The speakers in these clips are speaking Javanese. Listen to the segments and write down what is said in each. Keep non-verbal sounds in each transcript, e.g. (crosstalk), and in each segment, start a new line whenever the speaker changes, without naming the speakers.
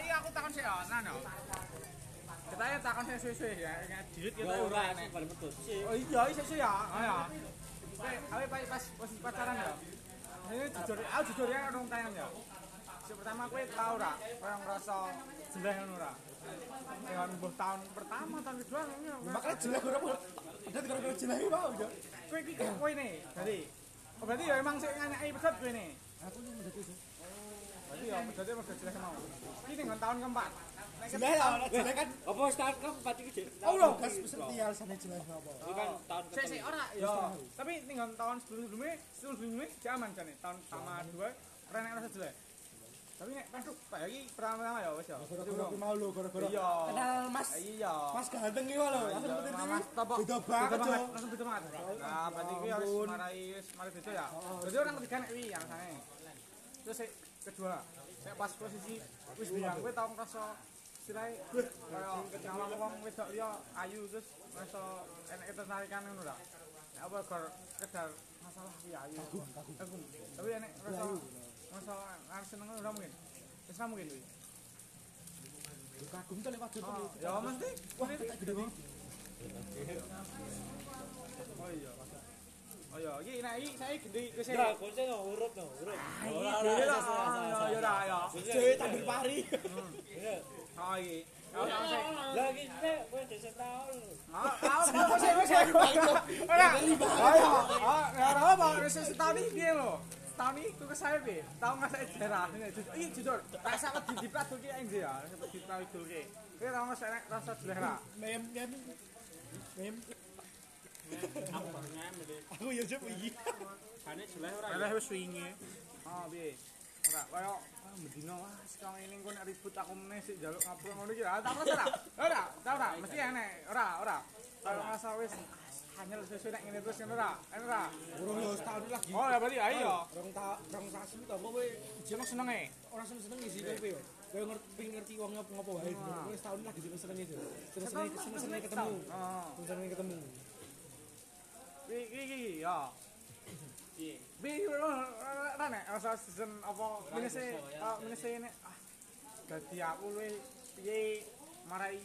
iya, sih ana no. Kita ya takon suwe-suwe ya, ingat dirit kita ora
Yo ora
enak.
sih paling pedes sih.
Oh iya iso-iso ya. Oh ya. Kowe awe pas pas pas pacaran ya. Ini jujur, aku jujur ya orang tanya ya. Sing pertama kowe tau ora, kowe ngerasa jelek ngono ora? Ya mbuh tahun pertama, tahun kedua ngono. ya.
Makanya jelek ora mau. Ada gara-gara jelek iki mau ya.
kowe iki kowe ne. Dadi oh, berarti ya emang sing nganaki pedet kowe ne.
Aku yang menjadi sih.
Berarti ya pedete mesti jelek mau. Iki ning tahun keempat. Nek
Jelek ya, ora jelek kan.
Apa tahun keempat iki, Dik?
Oh lho, gas mesti alasannya jelek apa.
Ini kan tahun
Sik
keempat.
sik ora ya. Tapi ning tahun sebelum-sebelumnya, sebelum-sebelumnya dia aman jane. Tahun pertama, dua, keren nek rasa jelek. Tapi nek pas kayak iki pertama-tama ya wis ya.
Gara-gara aku mau lho, gara-gara.
Iya.
Kenal Mas.
Iya.
Mas ganteng iki lho. Aku
Iya,
nonton TV.
Mas Topo.
Beda banget
Beda
yo.
Langsung beda banget. Nah, berarti iki harus marai wis mari beda ya. Jadi orang ketiga nek iki alasane. Terus sik kedua, saya pas posisi wis bilang kowe tau ngerasa sirai kaya nyawang wong wedok liya ayu terus ngerasa enek ketertarikan ngono lah. Nek apa gor kedar masalah kuwi ayu. Kagum. Tapi enek ngerasa ngerasa arep seneng ngono ora mungkin. Wis ora mungkin kuwi.
Kagum tuh lewat jodoh.
Oh, Ya mesti.
Wah, tak gede banget.
Oh iya. Oh iya, iki nek iki saiki gendhi wis.
Ya, kunci no huruf no huruf. Ora ora.
Dhewe
ora,
lah, ya,
ora, ora,
ya,
ora.
ora, ya.
Kunci,
Dewe
ora,
tandur
ora.
pari.
Iya.
Oh, iki. Ya,
Ora,
ya,
ora,
sik.
ora. Lah iki Dik, kowe desa taun.
Oh, oh, oh, sik, wis, sik. Ora. Ayo, oh, ya ora apa, wis setahun iki piye lho? Setahun iki tuku saya piye? Tau ngasih jarah. Iki jujur, tak sak wedi dipradulke ae ya, dipradulke. Kowe tau ngasih enek rasa jelek ra?
Mem mem mem. Aku ya jep iki.
Eleh wis wingi. Oh, piye? Ora kaya ah, Medina wah sekarang ini engko nek ribut aku meneh sik njaluk ngapura ngono iki. Ah, tak rasa ora? Ora, tak ora, mesti enek. Ora, ora. Kalau masa wis hanya sesuai nek ngene terus ngono ora? Enak ora?
Urung yo setahun lagi.
Oh, ya berarti ayo ya.
Rong ta rong sasi to kowe
Jeneng senenge.
orang seneng seneng sih kowe yo. Kowe ngerti ngerti wong ngop ngopo wae.
Ah.
Kowe setahun lagi seneng seneng itu. Seneng seneng seneng seneng ketemu.
Oh.
Seneng seneng ketemu.
Ah. Iki iki iki, ya. Piye? Piye ora nek eh, rasa season apa menese ah, menese nek ah dadi aku luwe piye marai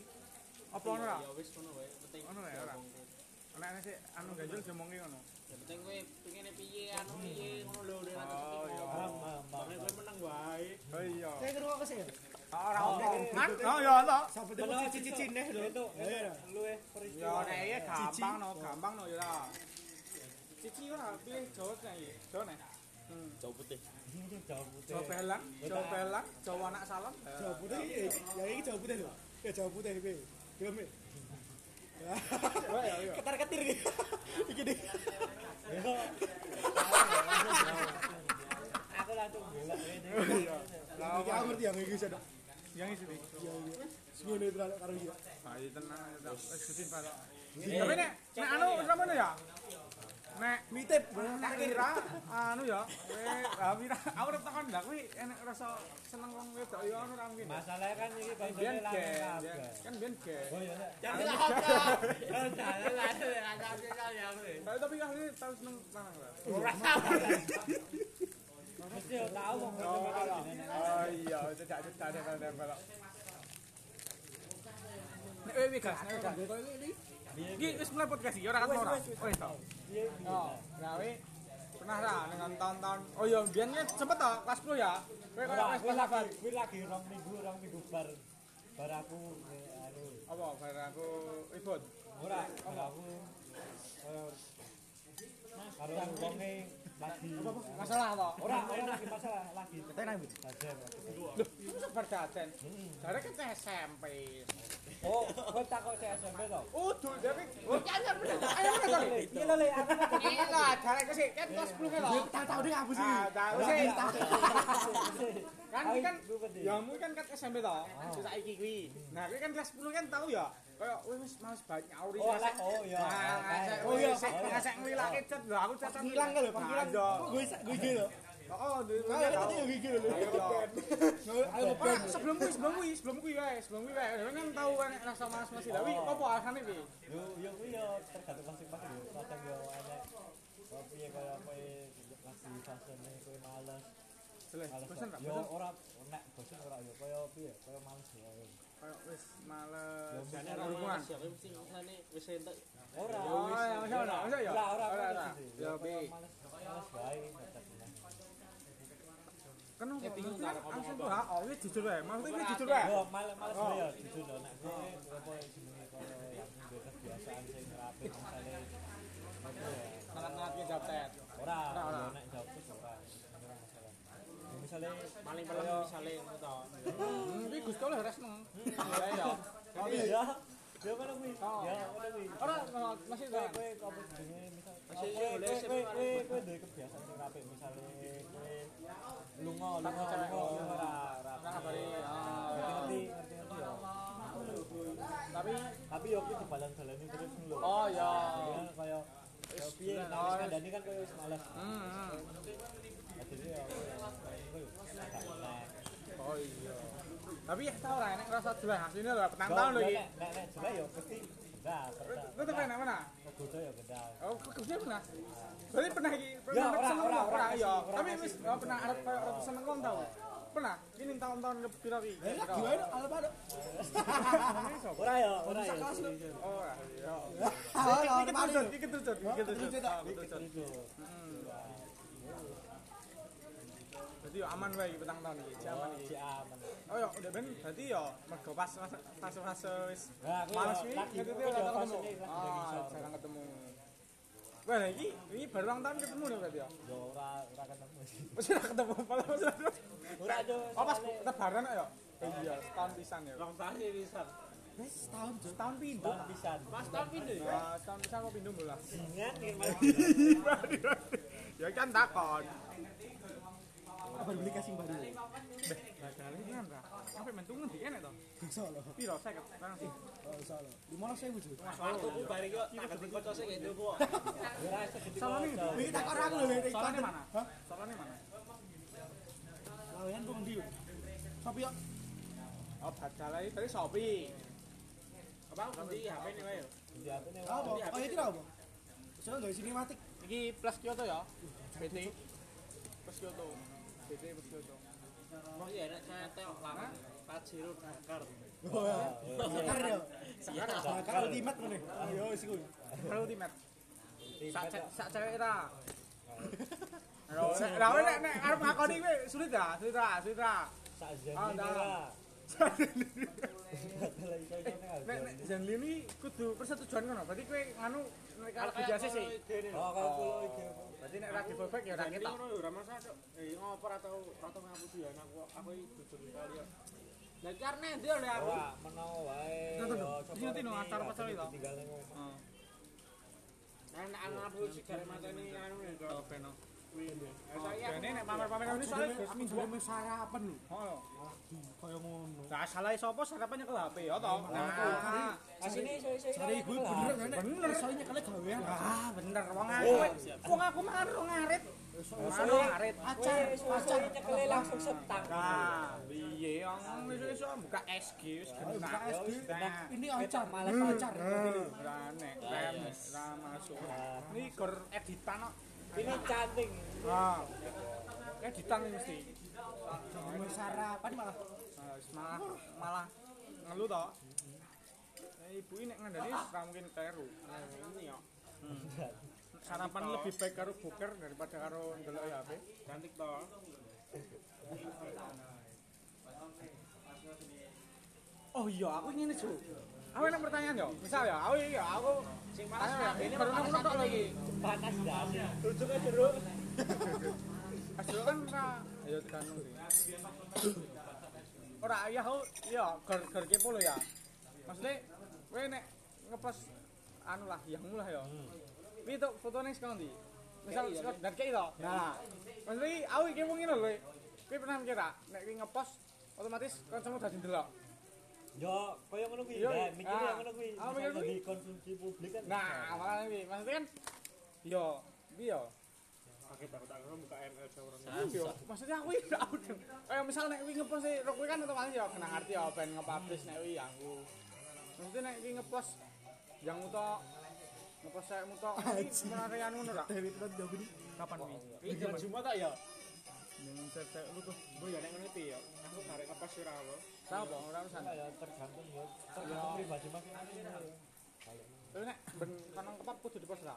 apa ngono ora?
ya wis ngono wae penting
Ngono ya ora. Anak-anak sih anu ganjel diomongi ngono.
ya penting kowe pengene piye anu piye ngono lho ora
Oh iya.
Makanya kowe menang wae
Oh iya.
Saya kira aku sih.
Ora omongan. Oh iya to.
Sampai dulu cicicin deh lho. Ayo.
Luwe
Ya
peristiwa.
nek iki gampang no, gampang no ya lah. Cici ora pilih Jawa nek iki. Jawa nek.
Jauh putih. Jauh
(laughs)
putih.
Jawa Belang, Jawa Belang, Jawa anak salam.
Jawa putih iki, ya iki Jawa putih lho. Ya Jawa putih iki. Yo
(laughs)
mi.
ya, iya.
Ketar ketir iki. Iki deh. Ya,
(laughs)
Aku langsung golek ngene.
Iya. Lah
Iki
apa?
aku ngerti yang iki sedek.
Yang isi iki.
Ya iki. Sing netral karo iki.
Bayi Ah, tenang aja. Eh, tak. Wis kucing pala. Tapi nek nek anu wis ramono ya. Nek
Mitip.
tak kira anu ya. Kowe lah pira aku ora takon lah kuwi enek rasa seneng wong wedok ya anu ora mungkin.
Masalahnya kan iki
Biyen
bangsane
ge,
lanang
biyen.
kabeh.
kan biyen ge.
Oh iya. Nek.
jadi lah apa Lah, jalan lah jalan lah jalan ya kowe
Tapi tapi kan ini tahu seneng lanang lah.
ora sama
Mesti yo tau wong ngono
Oh,
bakal
kalau.
jenenge.
Oh iya, itu tak ada tak ada tak ada kalau. Nek kowe wegas, nek wegas. Iki wis mulai podcast iki ora ketemu ora. Oh iya. Oh, gawe pernah ra dengan tahun-tahun. Oh iya, biyen kan sempet to kelas 10 ya. Kowe kaya
Wah,
kelas
Kuwi
kelas
lagi, kuwi lagi rong minggu, rong minggu bar bar aku eh, anu.
apa bar aku ribut.
Ora, bar aku eh, karo wonge lagi
Masalah to.
ora ora lagi masalah lagi. Tenan Bu.
Lho, itu sebar daden. Jare kan cah SMP.
Oh, kowe tak kok cek SMP to?
Udu, tapi oh jangan bener. Ayo bener to.
Iki lho le aku.
Gila, jare ke sih kan kelas 10 ke lho.
Tak tahu deh aku sih.
Ah, tahu sih. Kan
Ai,
kan
gue penting.
ya mu kan kan SMP to. Terus saiki kuwi. Nah, kuwi kan kelas 10 kan tahu ya. Kayak wih wis males banyak nyauri.
(laughs) Oh, lah, oh, iya.
Oh
Oh,
iya,
iya.
ngasek ngwilake cet lho aku cacat
Hilang kan lho,
Nah,
panggilan.
iya.
Gue gue iki lho.
Oh, duwe
Nah,
duwe
tadi
tahu.
yo iki lho. Ayo
Ora, sebelum kuwi, sebelum kuwi, sebelum kuwi wae, sebelum kuwi wae. Kan kan tahu kan rasa males masih. Lah, wih, opo alasane piye?
Yo yo kuwi yo tergantung masing-masing yo. Kadang yo enek kopi kaya kowe lagi fasene kowe males.
Jelek,
Males.
bosen ra,
Yo
bosen.
ora nek bosen ora yo kaya piye? Kalau males ya.
kayak wis males
Ya,
ada hubungan
siapa sih misalnya wis entek
Ora.
oh ya masih ono masih ya
Lah, ora,
Ora,
ora,
ora.
sih.
ya bi
Males males bae dadak menang.
kenapa
bingung
maksudnya
tak ngomong
aku
apa.
tuh ha oh wis jujur wae maksudnya wis jujur wae
Yo males males bae ya jujur lho nek kowe apa jenenge koyo yang duwe kebiasaan sing rapi misale apa ya,
telat-telat ke jawab chat
ora
Ora, ora.
yo nek jawab terus ora. Ora masalah. Ya, Misale
paling pelem misalnya ngono to
Hmm, iki Gusti Allah res nang ya ya
Oh iya. Ya ngono kuwi. Ya ngono kuwi.
ora ora, masih
Kowe
tuh
kowe apa jenenge misal
Masih
kowe
boleh,
kowe
sip,
kowe-
Mas.
kowe kowe duwe kebiasaan sing rapi misale kowe lunga lunga lunga ora ora
kabari
ngerti ngerti ngerti ya.
tapi
tapi yo kuwi dibalan-balani terus lho
Oh, iya.
Jadi kan kaya kaya piye nek wis kandhani kan kaya wis males
hmm
jadi ya
oh iya tapi ya tau lah nek ngerasa jelas asline lho petang tahun lho iki
nek nek jelek yo mesti nah
lu tuh pernah mana
kudu yo gendal
oh ke- Gusti pernah berarti pernah iki pernah
ora,
seneng
ora,
ora
ora,
iya
ora,
tapi
ora,
wis oh, pernah arep koyo arep seneng wong tau pernah ini tahun-tahun lebih pira iki
lagi wae ala padha.
ora yo ora yo
oh iya
Ah,
Iki- iki
ora padha.
terjun, iki terjun, iki terjun. Ah, iki terjun. Jadi yo aman wae iki petang tahun iki, iki aman iki.
si aman
Oh yo udah ben berarti yo mergo pas fase- fase-fase wis
nah aku
malas
yo
iki
Oh, lagi
gitu ora tau ketemu.
aku yo pas ini lagi
Ah,
ngisor.
jarang ketemu. Wah, lah iki iki baru ulang tahun ketemu lho berarti yo.
yo ora ora ketemu sih
Wis ora ketemu apa wis ora ketemu.
ora yo
Oh pas lebaran kok yo. Iya, setahun pisan yo.
rong tahun iki pisan
Wis setahun Cuk.
Setahun pindho.
tahun pisan
pas tahun pindho ya
Ah, setahun pisan kok pindho mbola.
ingat nih mas
Ya kan takon.
Kabar beli kasing baru.
Badale iki kan ra. Sampai mentungan di kene to.
Bisa lho.
Piro 50 barang sih.
Oh, bisa lho. 15.000 Cuk.
waktu ku bareng yo tak ganti kocok sing ngene kok
ora segede
Salone
kocok.
Iki tak ora aku lho. iki
Salone
konten.
mana?
Hah?
Salone mana?
Lawean kok ndi? Sopo yo?
Oh, badale iki tadi Shopee.
apa ganti HP ne wae yo
Di apa nih
Apa?
Iya.
Oh, iki lho apa? Sopo gawe sinematik?
Iki plus Kyoto ya. BT. Plus Kyoto. BT plus Kyoto.
Wah, ya enak saya tok lama pajero bakar
Bakar yo.
siap
Bakar ultimate meneh. Yo wis iku.
Pro ultimate. Sak
Sak-
ce- sak cewek ra. Lah kowe nek nek arep ngakoni kowe sulit dah, sulit ra, sulit ra.
sak
Ah,
jadi
dah.
lah
Nek nek Jan Lini kudu persetujuan ngono. Berarti kowe nganu nek arep dijase sih.
oh kalau kulo iki
Berarti nek ra di fallback ya ra ketok.
ngono yo ora masalah Cok. eh ngopo ra tau ra tau ngapusi ya aku aku iki jujur kali yo lah karne ndi oleh aku
ora menawa wae
Tuh, tuh,
yo,
tuh.
coba
Ini nanti no,
reti,
acara
gak
pacar
usah
itu.
ditinggal ning omah.
Heeh.
anak anak ngapusi gare mateni anu lho Cok.
Oh, Beno.
kuwi lho Lah, saya
Jane nek pamer-pamer ngene soalnya
Soale seminggu wis sarapan lho.
Oh.
Kaya ngono.
Lah salah sapa sarapan nyekel HP ya to. Nah,
asine iso iso
Cari ibu bener kan? Nek?
Bener.
Iso nyekel gawean.
ah bener wong aku. Wong aku mah wong ngarit. Wong ngarit.
Acar, acar.
nyekele langsung setang
Nah, piye wong iso-iso buka SG wis kena.
Oh, Buka Eh. SG.
Nah,
Ini acar, malah
Hmm.
acar.
Rane, rane, ra masuk. Ini gor editan kok.
ini canting
Ah. Editan ini mesti.
Gawe sarapan malah.
Ah, wis Malah malah ngeluh to. Eh, Ibu ini nek ngandani ra mungkin kleru.
ini yo
Sarapan lebih baik karo buker daripada karo ndelok HP.
cantik to
Oh iya, aku ngene, Ju. Aku enak pertanyaan yo. Misal ya, aku iya, aku
sing
Ayo,
panas kabeh
baru nemu tok lagi.
panas dah
rujuke jeruk
Asal kan ra ya tergantung sih. Ora ya aku ya ger ger kepo lho ya. Maksudnya kowe nek ngepost anu lah yang mulah ya. Wi tok fotone sekarang ndi? Misal sekarang dan kei to. Nah. Maksudnya iki aku iki mungkin lho. kowe. Kowe pernah mikir ra nek kowe ngepost otomatis kancamu dadi ndelok.
yo koyo ngono kuwi
Yo,
nah, mikirnya
ah.
ngono kuwi
Ah,
Misal
mikir kuwi.
jadi konsumsi publik kan
Nah, makane iki maksudnya kan yo piye yo
pakai baru tak buka ML jawuran
Iya, maksudnya aku ya aku kayak misal nek wingi ngepost sih, rok kuwi kan otomatis ya kena ngerti ya ben nge-publish nek wingi aku. Maksudnya nek wingi ngepost yang uto ngepost saya uto iki menarik anu ngono ra?
David Lot Dobri.
Kapan wingi?
Iki jam Jumat tak ya?
Yang cewek lu tuh.
Gue ya nek ngono iki ya. Aku karek apa sih ora apa.
Sapa ora urusan.
Enggak ya tergantung ya, tergantung pribadi masing-masing ya.
Lu nek ben kanang kepap kudu dipos ra.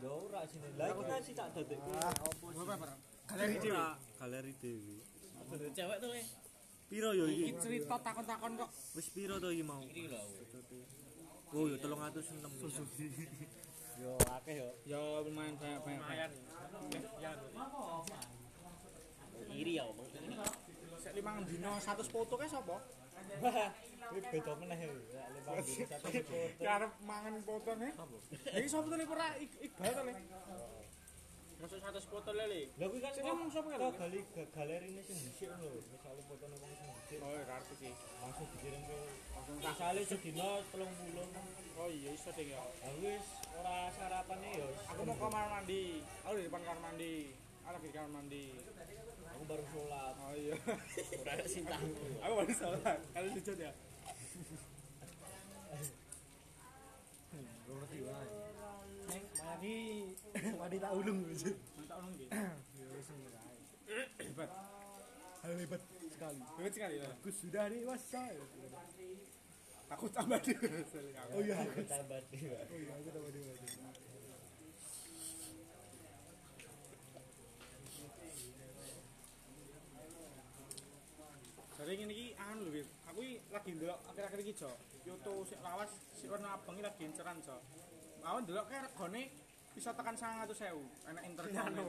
Ya ora sini. Lah iki kan sih tak dadekku.
Gua apa?
Galeri Dewi. Galeri Dewi.
Cewek tuh eh.
Piro yo iki?
Cerita takon-takon kok.
Wis piro to iki mau?
Iki lho.
Oh yo 306.
Yo akeh yo.
Ya lumayan banyak-banyak.
Iri ya omong ini.
Sek limang dino 100 foto kae sapa?
Wis beda meneh. Ya lembang iki satu foto.
Karep mangan potone. Iki sapa to ora Iqbal to le?
Masuk 100 foto lele.
Lah kuwi kan
Sini mung sapa ya?
kok gali galerine sing dhisik lho. Misale fotone wong sing dhisik
Oh, ora arti sih.
langsung dikirim ke misale sedina 30.
Oh iya iso deh ya.
Lah wis ora e sarapane yo.
Aku mau kamar mandi. Aku di depan kamar mandi. Aku di kamar mandi.
Aku baru sholat. (laughs)
Oh iya.
Ora ada cinta.
Aku baru sholat. Kali lucu ya.
Mandi, mandi tak ulung gitu.
Mantap orang gitu.
Hebat. Hal hebat sekali.
Bebet sekali ya.
Aku sudah dewasa.
Aku tambah dulu. Sorry, aku.
Oh iya, aku
Tambah dhewe.
oh iya, aku tambah dewasa.
Jadi ini ki anu lho, Wit. Aku ki lagi ndelok akhir-akhir iki, Cok. Kyoto sik lawas, sik warna abang iki lagi inceran, Cok. Aku ndelok kae regane bisa tekan 100.000. Enak intercom tapi.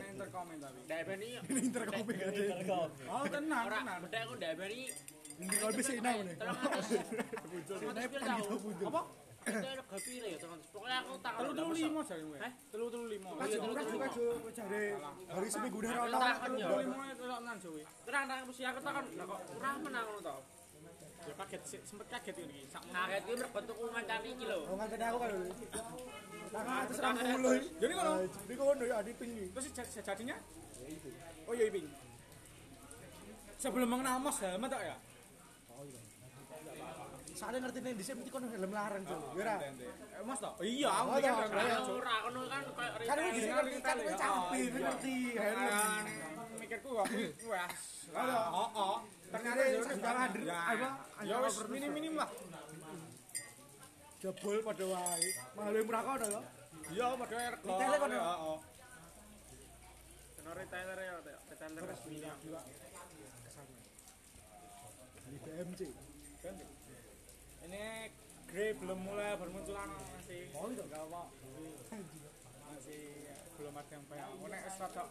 Enak intercom tapi.
Ndek ben iki.
Intercom gak ada.
Terus
Oh, tenang,
Ora,
tenang.
bedek aku ndek ben iki.
Ini kalau bisa inang nih.
Terus aku
Naik pagi tau bundul.
apa? Itu ada gapi lah ya, teman. Pokoknya aku tak
Telu telu lima jari gue.
Hah?
Telu telu lima.
Iya,
Kaju
terus,
murah
terus.
kaju cari hari seminggu dah
Aku
rono.
tak kan ya.
Telu lima itu lo enam jowi.
Terang terang mesti aku tak kan. Lah kok ora menang ngono to.
Ya kaget, sih, sempet kaget ini. Sak
Kaget iki berbentuk mancan iki lho.
Oh nggak kena aku kan. Tangan atas ramu mulai.
Jadi kalau
Jadi kau ndoy adi tinggi.
terus sej- sejatinya? Oh iya Ibing. Sebelum mengenal Mas Helmet tak ya?
Soalnya ngerti nih di sini kau helm larang tuh. Yura.
Eh, Mas tak? Iya, aku pikir
tak,
orang
Lah
lain.
ora ngono kan koyo
Kan aku di sini ngerti kan kau capi ngerti helm.
Kan, mikirku kok wah. lah, Oh, oh. Ternyata
Ini
ya udah
segala hadir,
Ya.
apa,
Ya
antara
wis
berdua.
minim-minim lah.
Jebol pada wae. Mahal yang murah kau dah loh.
Ya padha ergo.
Detailnya kono.
Heeh.
Kena retailer ya, Teo. retailer resmi.
Di BMC.
Ini Grey belum mulai bermunculan masih.
Oh itu.
Enggak apa. Masih ya, belum ada yang banyak. Aku nek wis rada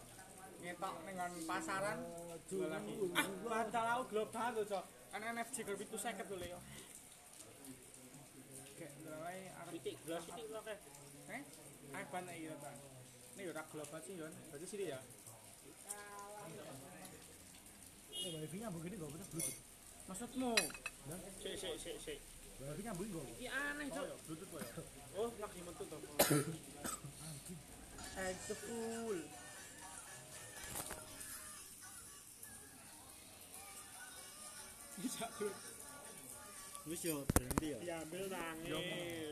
ngetok ning nggon pasaran jual lagi. Ah, bantal aku gelap banget lho, Cok. Kan NFC gelap itu 50 lho, Leo. Kayak lewai arep
Titik, gelas titik kok.
eh arep banyak iki ta. Ini yo rak gelap banget sih, Yon. Berarti sini ya.
Eh wifi nyambung ini gak bener bluetooth.
Maksudmu?
Sik sik sik sik.
Wifi nyambung gak.
Iki aneh, Cuk.
Bluetooth kok ya?
Oh, lagi metu to.
(coughs) Eh, the fool.
Wis yo berhenti yo.
Diambil nangis.